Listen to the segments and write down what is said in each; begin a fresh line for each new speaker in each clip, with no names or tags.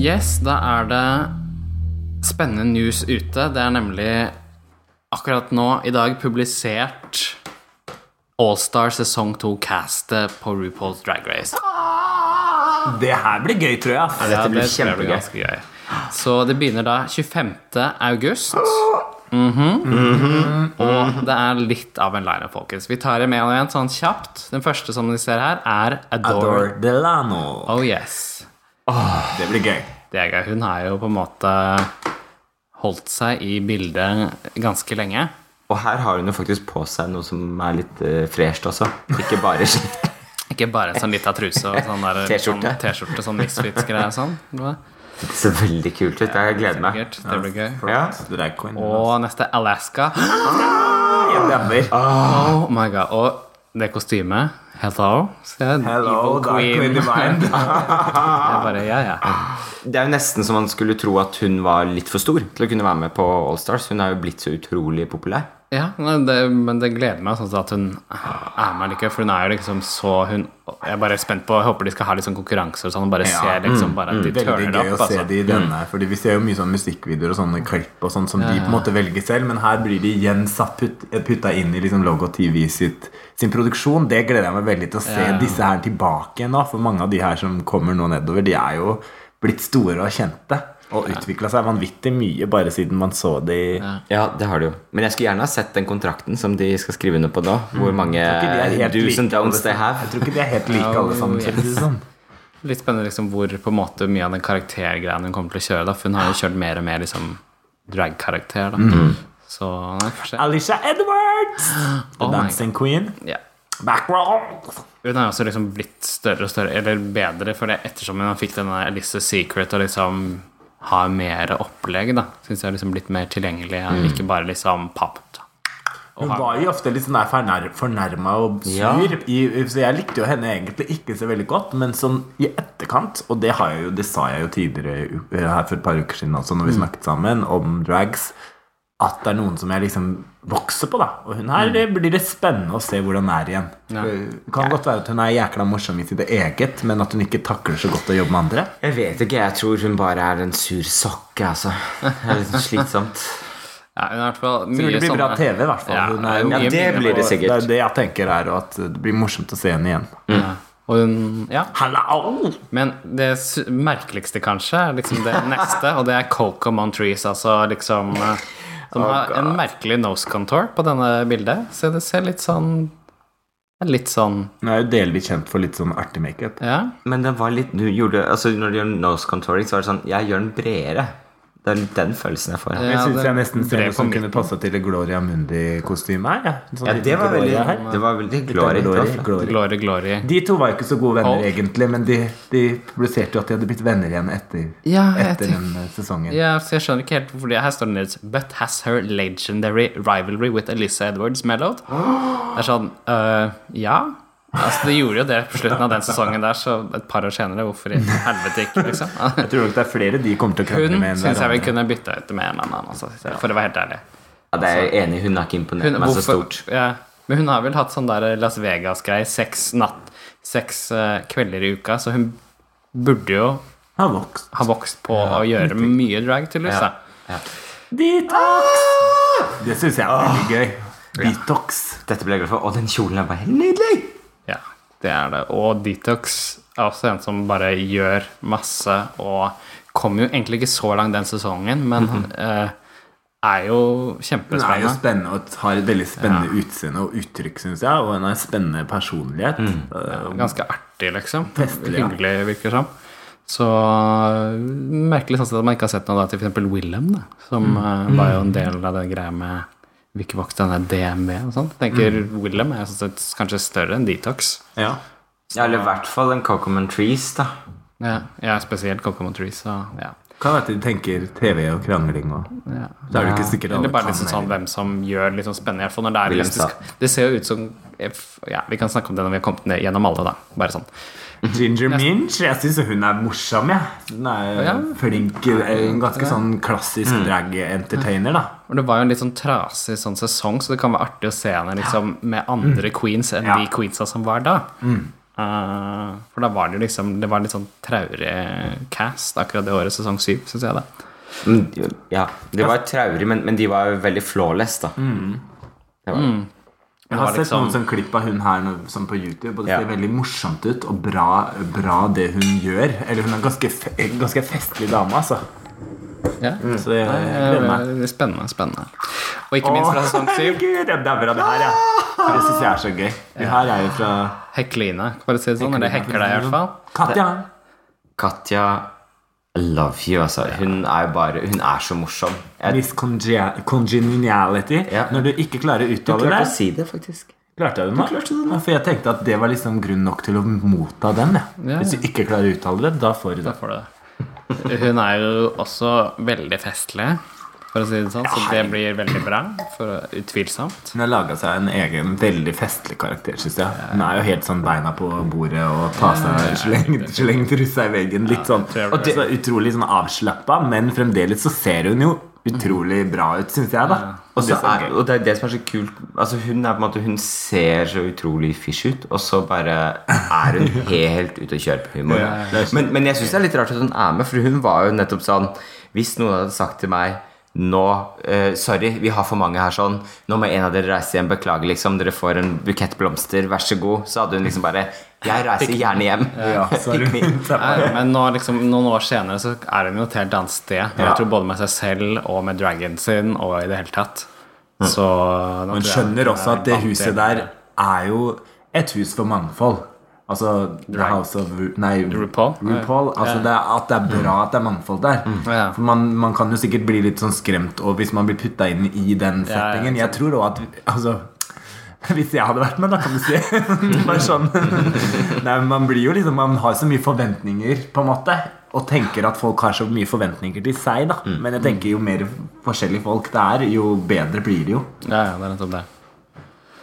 Yes, da er det spennende news ute. Det er nemlig akkurat nå i dag publisert Allstar sesong 2-castet på RuPaul's Drag Race.
Det her blir gøy, tror jeg.
Ja, det tror jeg blir ganske gøy. Så det begynner da 25. august. Mhm. Og det er litt av en lineup, folkens. Vi tar det med og igjen sånn kjapt. Den første som dere ser her, er Adore.
Adore Delano.
Oh yes.
Det blir gøy.
Det er gøy. Hun har jo på en måte holdt seg i bildet ganske lenge.
Og her har hun jo faktisk på seg noe som er litt uh, fresht også. Ikke bare slitt.
Ikke bare en sånn lita truse og sånn der
T-skjorte.
sånn T-skjorte, sånn Misfits-greier og sånn. Det
Det ser veldig kult ut. Jeg gleder meg.
blir gøy. Det blir gøy.
Ja.
Drag queen.
Og neste Alaska.
Jeg demmer.
Oh my god. Og det kostymet. Hello. Ser jeg
Hello,
Evil
Dark Queen Divine.
Jeg bare, ja, ja.
Det er jo nesten så man skulle tro at hun var litt for stor til å kunne være med på Allstars. Hun er jo blitt så utrolig populær.
ja men det, men det gleder meg sånn at hun er med likevel. For hun er jo liksom så hun, Jeg er bare spent på Jeg håper de skal ha litt sånn konkurranser og sånn. Og bare
Ja, Mm.
se liksom bare at de
Veldig
turner
gøy
opp.
å se
Altså.
Mm.
de i denne. Fordi Vi ser jo mye sånn musikkvideoer og sånne klipp og sånn som de på en måte velger selv, men her blir de igjen satt put, putta inn i liksom Logo TV sitt, sin produksjon. Det gleder jeg meg veldig til å se
Ja.
disse her tilbake nå. For mange av de her som kommer nå nedover, de er jo blitt store og kjente. Og utvikla seg vanvittig mye bare siden man så de
Ja, det har du jo. Men jeg skulle gjerne ha sett den kontrakten som de skal skrive under på nå. Hvor mange
de er helt
Eh, do's
like
and
alle
don'ts they
sammen. Jeg
have.
tror ikke de er helt like alle sammen.
Oh,
for å si det sånn.
Litt spennende liksom hvor på en måte mye av den karaktergreien hun kommer til å kjøre. da For hun har jo kjørt mer og mer liksom drag-karakter. da Så nei, får se.
Alicia Edwards! The
Oh my
Dancing Queen.
Ja.
Backroll!
Hun har jo også liksom blitt større og større, eller bedre, for det ettersom hun fikk denne Elise Secret og liksom har mer opplegg, da. Syns jeg er liksom blitt mer tilgjengelig, og ikke bare liksom papp. da.
Hun var jo ofte litt sånn der fornær- fornærma og sur,
Ja.
i, så jeg likte jo henne egentlig ikke så veldig godt. Men sånn i etterkant, og det, har jeg jo, det sa jeg jo tidligere eh, her for et par uker siden også, når
Mm.
vi snakket sammen om drags, at det er noen som jeg liksom vokser på, da. Og hun
Mm.
her det blir det spennende å se hvordan hun er igjen. Det Kan godt være at hun er jækla morsom i sitt eget, men at hun ikke takler så godt å jobbe med andre.
Jeg vet ikke. Jeg tror hun bare er en sur sokke, altså. Det er litt slitsomt.
Ja, hun har i hvert fall mye
Tror det blir bra
sånne-
TV, i hvert fall.
Ja,
Hun er jo-
mye
Ja, det
mindre
blir
på-
det
Det
sikkert.
er det jeg tenker er, og at det blir morsomt å se henne igjen.
Ja. Og hun Ja.
Hallo!
Men det s- merkeligste kanskje er liksom det neste, og det er Coco Montrese, altså liksom eh, Som
Oh,
har en merkelig nose contour på denne bildet. Så det ser litt sånn det er Litt sånn
Hun er jo delvis kjent for litt sånn artig makeup.
Ja.
Men den var litt du gjorde, altså Når du gjør nose contouring, så var det sånn Jeg gjør den bredere. Det er litt den følelsen jeg får.
Ja,
Jeg syns
det
jeg nesten ser
drev
noe som
på
kunne passa til det Gloria Mundi-kostyme her. Ja. Sånn
Ja,
liten
det var
Gloria her.
veldig, det var veldig glory.
Glory,
Det var flott.
Glory.
Glory, glory.
De to var jo ikke så gode venner,
Hold.
egentlig, men de, de publiserte jo at de hadde blitt venner igjen etter,
Ja, jeg
etter
tenk-
den eh, sesongen.
Ja, så jeg skjønner ikke helt hvorfor det her står det ned. But has her legendary rivalry with Elisa Edwards mellowed? Det er sånn øh, Ja. Altså, det gjorde jo det på slutten av den sesongen der, så et par år senere, hvorfor i helvete ikke, liksom?
Jeg tror nok det er flere de kommer til å krangle
Hun
med. enn
syns jeg vi
hverandre.
kunne bytta ut med en annen, altså, for å være helt ærlig.
Ja, det er jeg enig i. Hun har ikke imponert
Hun,
meg så
hvorfor-
stort.
Ja, men hun har vel hatt sånn der Las Vegas-greie seks, natt- seks eh, kvelder i uka, så hun burde jo
Har vokst.
ha vokst på å gjøre mye drag, tydeligvis. da.
Detox! Det syns jeg er veldig gøy. Detox.
Dette ble jeg glad for. Og den kjolen er bare helt nydelig!
Ja, det er det. Og Detox er også en som bare gjør masse, og kom jo egentlig ikke så langt den sesongen, men eh, er jo
Hun er jo
kjempespennende.
spennende og har et veldig spennende utseende og uttrykk, syns jeg. Og hun har en spennende personlighet. Eh,
Ganske artig, liksom.
Festlig, ja.
Hyggelig, virker det som. Så eh, merkelig sånn sett at man ikke har sett noe da til f.eks. Willem, da, som eh, var jo en del av det greia med Vikivox, denne DMB og sånn. Jeg Tenker Willem er jo sånn sett kanskje større enn Detox.
Eh, Ja.
Ja, eller i hvert fall en Cocomon Trees, da.
Ja, ja spesielt Cocomo Trees. Så, ja.
Kan være at de tenker TV og krangling og
Ja.
Så er det ikke sikkert alle
Eller bare
kan eh,
litt sånn sånn hvem som gjør litt sånn spennende, i hvert fall når det er
Wilhelm
hvis det skal- Det ser jo ut som Ja, vi kan snakke om det når vi har kommet ned gjennom alle, da. Bare sånn.
Ginger Minch, jeg syns hun er morsom, jeg. Hun er eh,
Ja.
flink, en ganske sånn klassisk drag-entertainer, da.
Og det var jo en litt sånn trasig sånn sesong, så det kan være artig å se henne liksom med andre queens enn
Mm. Ja. Mm.
de queensa som var da. Eh, for da var det jo liksom Det var litt sånn traurig cast akkurat det året, sesong syv, syns jeg, da.
Men de- Ja, de var traurig, men, men de var jo veldig flawless, da. Det var,
Jeg
var
har sett
liksom-
noen sånn klipp av hun her nå- som på YouTube, og det
Ja.
ser veldig morsomt ut. Og bra, bra det hun gjør. Eller hun er en ganske, fe- en ganske festlig dame, altså.
Ja.
Så jeg gleder meg.
Mm. Eh, Spennende, spennende. Og ikke minst fra
Åh,
sesong syv,
herregud, det er bra det her, ja. Det syns jeg er så gøy. Hun her er jo fra
Hekline. Bare si det sånn, eller hekler deg i hvert fall.
Katja.
Katja I love you, altså. Hun er jo bare Hun er så morsom. Jeg
Miss conge- congeniality.
Ja.
Når du ikke klarer å uttale
klarte å
det,
si det, faktisk.
klarte jeg det nå. Ja, For jeg tenkte at det var liksom grunn nok til å motta den. Ja.
Ja.
Hvis du ikke klarer å uttale det, da får du
Da
det.
får du det. Hun er jo også veldig festlig, for å si det sånn, så det blir veldig bra. For utvilsomt.
Hun har laga seg en egen veldig festlig karakter, syns jeg. Hun er jo helt sånn beina på bordet og ta seg slengt, slengt russa i veggen. Litt sånn.
tror jeg
Og det, så utrolig sånn avslappa, men fremdeles så ser hun jo utrolig bra ut, syns jeg, da.
Og,
Og
så
det er
er,
så gøy.
og det er det som er så kult Altså Hun er på en måte Hun ser så utrolig fish ut, og så bare er hun helt ute å kjøre på humor.
Ja, det
Men, men jeg syns det er litt rart at hun er med, for hun var jo nettopp sånn Hvis noen hadde sagt til meg nå, eh, sorry, vi har for mange her sånn Nå må en av dere reise hjem, beklager liksom Dere får en bukett blomster, vær så god Så hadde hun liksom bare, jeg reiser gjerne hjem
Ja, så er
Pick me.
hun- så er
Nei, Men nå, liksom, noen år senere så er hun jo et helt annet sted.
Ja.
Jeg tror både med seg selv og med dragen sin og i det hele tatt. Så
Mm. Hun
Hun
skjønner også at det huset der er jo et hus for mannfold. Altså The House of Ru- Nei,
RuPaul? Mm.
RuPaul. Altså det er, at det er bra at det er mannfold der.
Ja.
For man, man kan jo sikkert bli litt sånn skremt og hvis man blir putta inn i den
Ja, ja,
settingen. Jeg tror òg at Altså hvis jeg hadde vært med, da, kan du si. Bare sånn. Nei, men man blir jo liksom Man har så mye forventninger, på en måte. Og tenker at folk har så mye forventninger til seg, da.
Mm.
Men jeg tenker jo mer forskjellige folk det er, jo bedre blir det jo.
Ja, ja, det er nettopp det.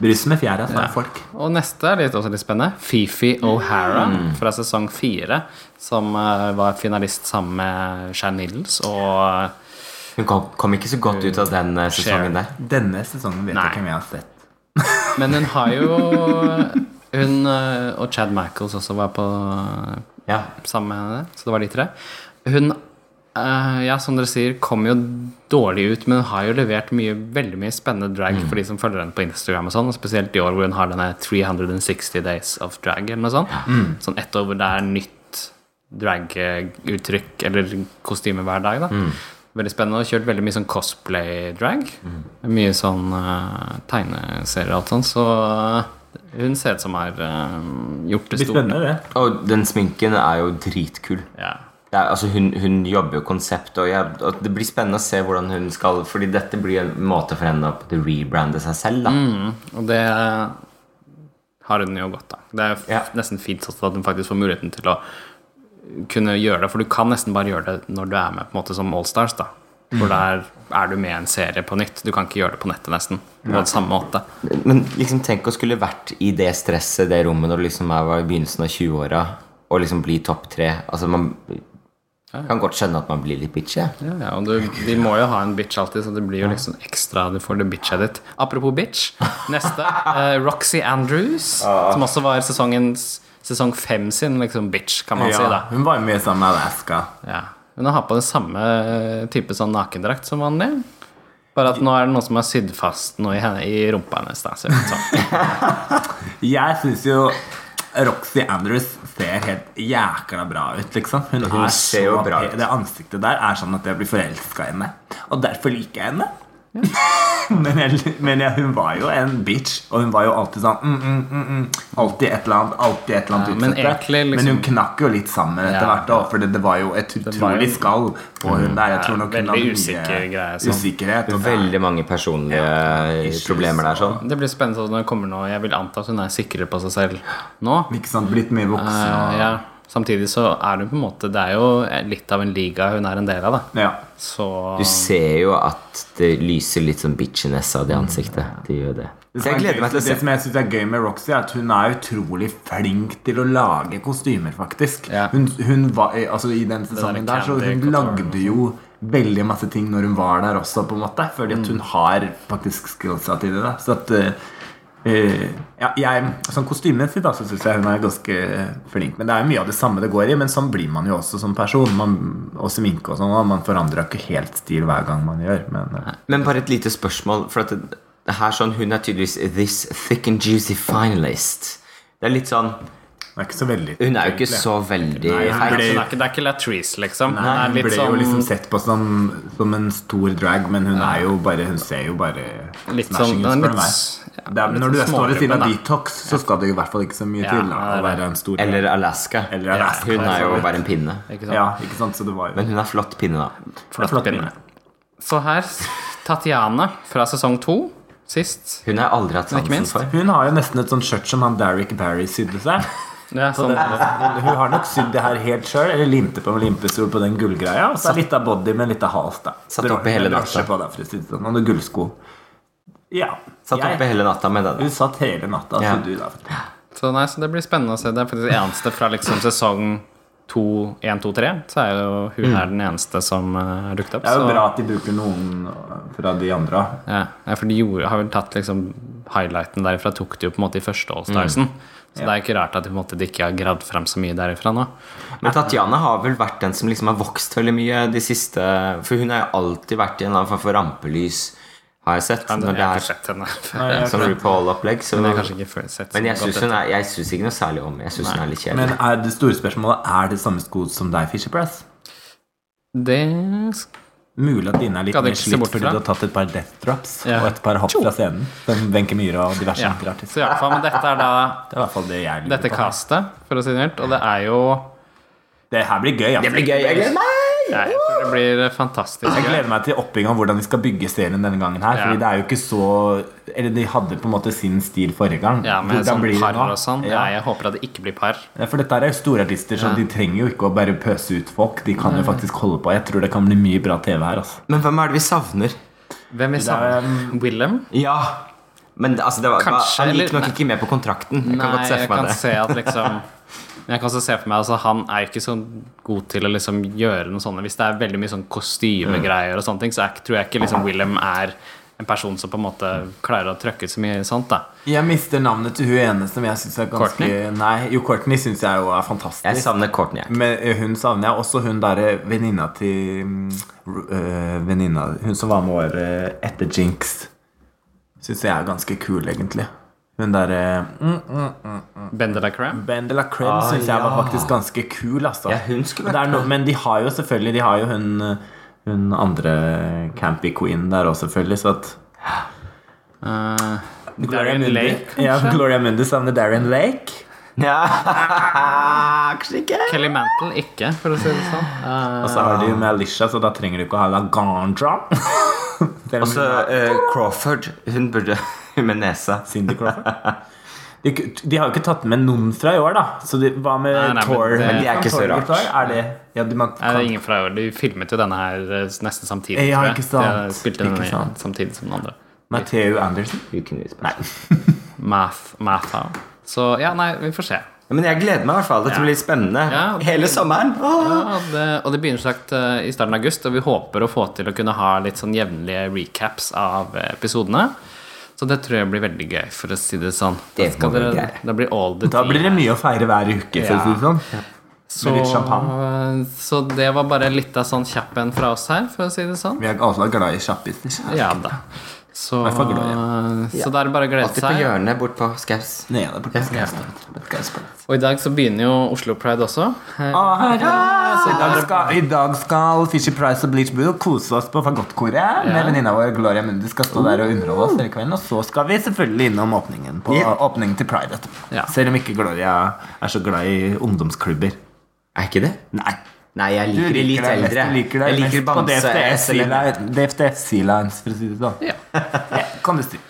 Bryst med fjæra, sa folk.
Og neste er litt, også litt spennende. Fifi O'Hara
Mm.
fra sesong fire, som eh, var finalist sammen med Shan Nils og eh,
Hun kom, kom ikke så godt ut av den eh,
Cher.
sesongen der
Denne sesongen vet
Nei.
jeg ikke om jeg har sett.
Men hun har jo Hun eh, og Chad Michaels også var på
Ja,
sammen med henne, så det var de tre. Hun eh, ja, som dere sier, kom jo dårlig ut, men hun har jo levert mye, veldig mye spennende drag for de som følger henne på Instagram. og sånn, og Spesielt i år hvor hun har denne 360 Days of Drag. eller noe sånt. Sånn ett år hvor det er nytt draguttrykk eller kostyme hver dag. da. Veldig spennende. Og kjørt veldig mye sånn cosplay-drag. Mye sånn eh, tegneserier og alt sånt. Så eh, hun ser ut som har eh, gjort det
Det blir
stort.
spennende, det.
og den sminken er jo dritkul
Ja.
det er, altså hun, hun jobber jo konsept, og, jeg, og det blir spennende å se hvordan hun skal Fordi dette blir en måte for henne å på en måte rebrande seg selv. da
Mm.
Og det har hun jo godt av. Det er f-
Ja.
nesten fint også at hun faktisk får muligheten til å kunne gjøre det, for du kan nesten bare gjøre det når du er med på en måte som Allstars. da. For der er du med i en serie på nytt. Du kan ikke gjøre det på nettet nesten. På samme måte.
Men liksom tenk å skulle vært i det stresset, det rommet, når du liksom jeg var i begynnelsen av 20-åra, og liksom bli topp tre. Altså Man kan godt skjønne at man blir litt bitchy.
Ja, ja, og du, De må jo ha en bitch alltid, så det blir jo liksom ekstra du får det bitcha ditt. Apropos bitch. Neste. eh, Roxy Andrews, som også var sesongens sesong fem sin liksom bitch, kan man si. da.
Ja, hun var jo mye sammen med Alaska.
Ja. Hun har på den samme type sånn nakendrakt som vanlig. Bare at nå er det noen som har sydd fast noe i, henne, i rumpa hennes. Da, ser det ut som.
Jeg syns jo Roxy Andrews ser helt jækla bra ut, liksom. Hun,
Hun
er
ser
så
jo bra
pe-
ut.
Det ansiktet der er sånn at jeg blir forelska i henne. Og derfor liker jeg henne. men jeg, men jeg, hun var jo en bitch, og hun var jo alltid sånn mm, mm, mm, mm. Alltid et eller annet. Alltid et eller annet
Ja, men
utsette.
egentlig liksom-
men hun knakk jo litt sammen etter
Ja,
hvert òg, for det, det var jo et
var jo-
utrolig skall på hun der. Jeg
Ja,
tror nok hun
veldig
hadde mye
usikker greie, sånn.
Usikkerhet. og-
Veldig mange personlige
issues.
problemer der. sånn
Det blir spennende sånn når det kommer nå. Jeg vil anta at hun er sikrere på seg selv nå.
Ikke sant, blitt mye voksen.
Eh,
og-
ja. Samtidig så er hun på en måte Det er jo litt av en liga hun er en del av, da.
Ja.
Så
Du ser jo at det lyser litt sånn bitchiness av det ansiktet. Det gjør det.
Det
Så
som,
jeg
er
gleder
gøy,
meg til å se
det som jeg synes er gøy med Roxy, er at hun er utrolig flink til å lage kostymer, faktisk.
Ja.
Hun, hun var, altså, I den sesongen
der
der, så
candy sånn.
hun
couture.
lagde jo veldig masse ting
Mm.
når hun var der også, på en måte. Fordi at hun har faktisk skillsa til det. Da. Så at eh, Eh, ja, jeg, sånn kostymemessig da, så syns jeg hun er ganske eh, flink. Men det er jo mye av det samme det går i, men sånn blir man jo også som person. Man, og sminke og sånn. og Man forandrer ikke helt stil hver gang man gjør. Men eh,
Men bare et lite spørsmål. For at det, det her sånn, Hun er tydeligvis this thick and juicy finalist. Det er litt sånn
det er ikke så veldig
Hun er jo ikke så veldig
Nei, hun
Nei,
feit.
altså, det, er ikke, det er ikke Latrice, liksom.
Nei,
det er
hun
litt
ble jo
sånn
liksom sett på som, som en stor drag, men hun er jo bare Hun ser jo bare
Litt
smashing
sånn- den er
ut
litt
for meg.
s- ja,
Det er-
litt
Når du
sånn
står ved siden av
smågruppen, da.
detox, så skal det jo i hvert fall ikke så mye
Ja,
til da, å
det er det.
være en stor
Eller Alaska.
Eller Alaska, altså.
Hun er jo
absolutt.
bare en pinne.
Ikke sant?
Ja, ikke sant? Så det var jo
Men hun er flott pinne, da.
Flott
Flott
pinne.
pinne.
Så her Tatiane fra sesong to sist.
Hun har jeg aldri hatt sansen
minst.
for.
Hun har jo nesten et sånt skjørt som han Derrick Barry sydde seg.
Det er sånn,
Hun har nok sydd det her helt sjøl, eller limte på med limpestol på den gullgreia. Og så er litt av body med litt av hals, da.
Satt oppe hele natta.
Drosje på der, for å si det sånn. Og noen gullsko. Ja.
Satt
jeg-
oppe hele natta med den.
Hun satt hele natta,
Ja.
så du da. fortell.
så, nei, så det blir spennende å se. Det er faktisk det eneste fra liksom sesong to, én, to, tre. Så er jo hun her den eneste som eh, har dukket opp.
Mm. Det er jo
så-
bra at de bruker noen øh, fra de andre.
Ja, ja, for de gjorde, har vel tatt liksom highlighten derifra, tok de jo på en måte i første Allstarsen.
Mm.
Så det er ikke rart at de, på en måte, de ikke har gravd frem så mye derifra nå.
Men Tatjana har vel vært den som liksom har vokst veldig mye de siste For hun har jo alltid vært i en eller annen form for rampelys, har jeg sett.
Men
Når
jeg
det
har
er
ikke sett henne.
Nei, jeg-
sånn RuPaul-opplegg. Så
Men jeg har kanskje ikke sett så
Men jeg
godt
syns hun
etter.
er Jeg synes ikke noe særlig om Jeg synes hun er litt
Men
kjedelig.
er det store spørsmålet er det samme sko som deg, Fisher Press?
Det sk-
Mulig at dine er litt
Skal du
mer
ikke se
slitt
bort
fordi du
fra?
har tatt et par death drops
Ja.
og et par hopp fra scenen. Som Wenche Myhre og diverse
ja.
andre
Så
artister.
i hvert fall, men dette er da
Det er i hvert fall det jeg lurer
dette
på.
castet, for å si det mildt. Og det er jo
Det her blir gøy. Altså.
Det blir gøy. Jeg gleder meg!
ja, Jeg tror det blir fantastisk.
Jeg gleder meg til oppbygginga av hvordan de skal bygge serien denne gangen her.
Ja.
Fordi det er jo ikke så Eller de hadde på en måte sin stil forrige gang.
Ja, med
Hvordan
sånn
blir det
par
nå?
og sånn. Ja,
Ja.
jeg håper at det ikke blir par.
Ja, For dette her er jo store artister, så de trenger jo ikke å bare pøse ut folk. De
Mm.
kan jo faktisk holde på. Jeg tror det kan bli mye bra TV her. Altså.
Men hvem er det vi savner?
Hvem vil savne? Willem?
Ja Men det- altså, det var,
Kanskje,
han gikk
eller-
nok ikke med på kontrakten. Jeg kan
Nei,
godt se
jeg
for meg
kan
det.
se at liksom Men jeg kan også se for meg altså, Han er ikke så god til å liksom gjøre noe sånne Hvis det er veldig mye sånn kostymegreier og sånne ting, så er, tror jeg ikke liksom Willem er en person som på en måte klarer å trøkke så mye sånt, da.
Jeg mister navnet til hun ene som jeg syns er ganske
Courtney?
Nei, jo, Courtney syns jeg jo er fantastisk.
Jeg savner Courtney. jeg.
Men eh, hun savner jeg. Også hun derre venninna til mm, Ru- eh, Venninna Hun som var med året etter Jinx. Syns jeg er ganske kul, egentlig. Hun derre mm,
Bender like Cram.
Bendela Crem
Ah,
syns jeg var
ja.
faktisk ganske kul, altså.
Ja, hun skulle
Men det er
vært
no, Men de har jo selvfølgelig De har jo hun, eh, hun andre campy queen der òg, selvfølgelig, så at
Darren
Mundi-
Eh, Lake.
Ja, Gloria Mundi savner Darren Lake.
Ja, Kanskje ikke.
Kelly Mantle ikke, for å si det sånn. Eh,
Og så har de jo Malisha, så da trenger du ikke å ha Lagandra. Selv om
Og
Altså-
så
hun er
eh, Crawford. Hun burde Hun med nese.
Cindy Crawford. De, de har jo ikke tatt med noen fra i år, da. Så de, hva med
Nei, nei, men
Tor?
det- Men
de er ikke så
Tor-
rart.
Tor? Er det, ja, de, man,
er det
kan,
ingen fra i år? De filmet jo denne her eh, nesten samtidig.
Ja,
tror jeg.
ikke sant.
De spilte den
Ikke
i-
sant.
samtidig som den andre.
Matteo Andersen?
Who can use Nei.
Math, math How. Så ja, nei, vi får se.
Ja, Men jeg gleder meg i hvert fall. Dette blir spennende.
Ja.
Hele sommeren. Åh.
Ja, og det, og det begynner som sagt eh, i starten av august, og vi håper å få til å kunne ha litt sånn jevnlige recaps av eh, episodene. Så det tror jeg blir veldig gøy, for å si det sånn. Da,
Det
skal
må bli
dere,
gøy.
da blir all the
Da blir det mye å feire hver uke, for å si det sånn.
så, eh,
litt champagne.
så det var bare litt av sånn kjapp en fra oss her, for å si det sånn.
Vi er alle glad i kjappiser.
Ja da. Så, eh,
hvert fall glad,
så da er det bare å glede
Alltid på
seg.
hjørnet bort på Skaus.
Nei, det er på podcasten.
Og i dag så begynner jo Oslo Pride også. Eh,
Å, herre! Så i dag skal, i dag skal Fisher Price og Bleach Blue kose oss på fagottkoret med venninna vår Gloria Mundi skal stå der og underholde oss hele kvelden. Og så skal vi selvfølgelig innom åpningen på
Ja.
åpningen til Pride etterpå.
Ja.
Selv om ikke Gloria er så glad i ungdomsklubber.
Er ikke det?
Nei.
Nei, jeg liker de litt
deg
eldre.
mest- du liker deg
jeg liker
mest på
Bamse. SLM.
DFDF-sea-lines, for å si det sånn.
Ja.
Ja, Kan du si.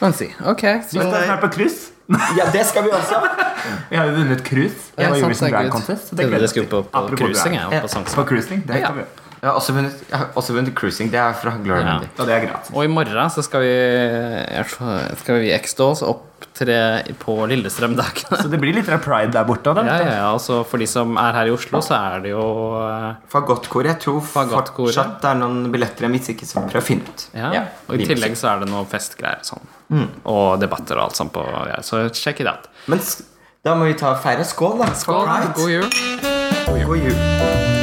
Kan si. Ok. Så,
Vi skal snart på cruise.
Ja, det skal vi også.
Vi har jo vunnet cruise.
ja,
på
sant,
Eurovision Drag
herregud.
Contest, så det
Trodde
gleder
dere
jeg
skulle
meg til.
på, på
Apropos
cruising,
drag.
jeg. og På sånn
På cruising, det
Ja.
kan vi gjøre.
Jeg har også vunnet, jeg har også vunnet Cruising. Det er fra Glory
Ja.
Mundi.
Ja, det er gratis.
Og i morgen så skal vi jeg tror- Skal vi X-Dolls opptre på Lillestrøm dagen.
Så det blir litt av pride der borte. Da,
Ja,
vet du.
ja, ja, altså For de som er her i Oslo, så er det jo eh,
Fagottkor. Jeg tror
Fagottkoret.
fortsatt det er noen billetter igjen, hvis ikke så prøv å finne ut.
ja.
Ja,
Og i
vi må
tillegg så er det noe festgreier og sånn. Og debatter og alt sånt. på ja, Så sjekk it out.
se. Men s- da må vi ta og feire. Skål, da.
Skål,
Pride.
god jul.
God jul.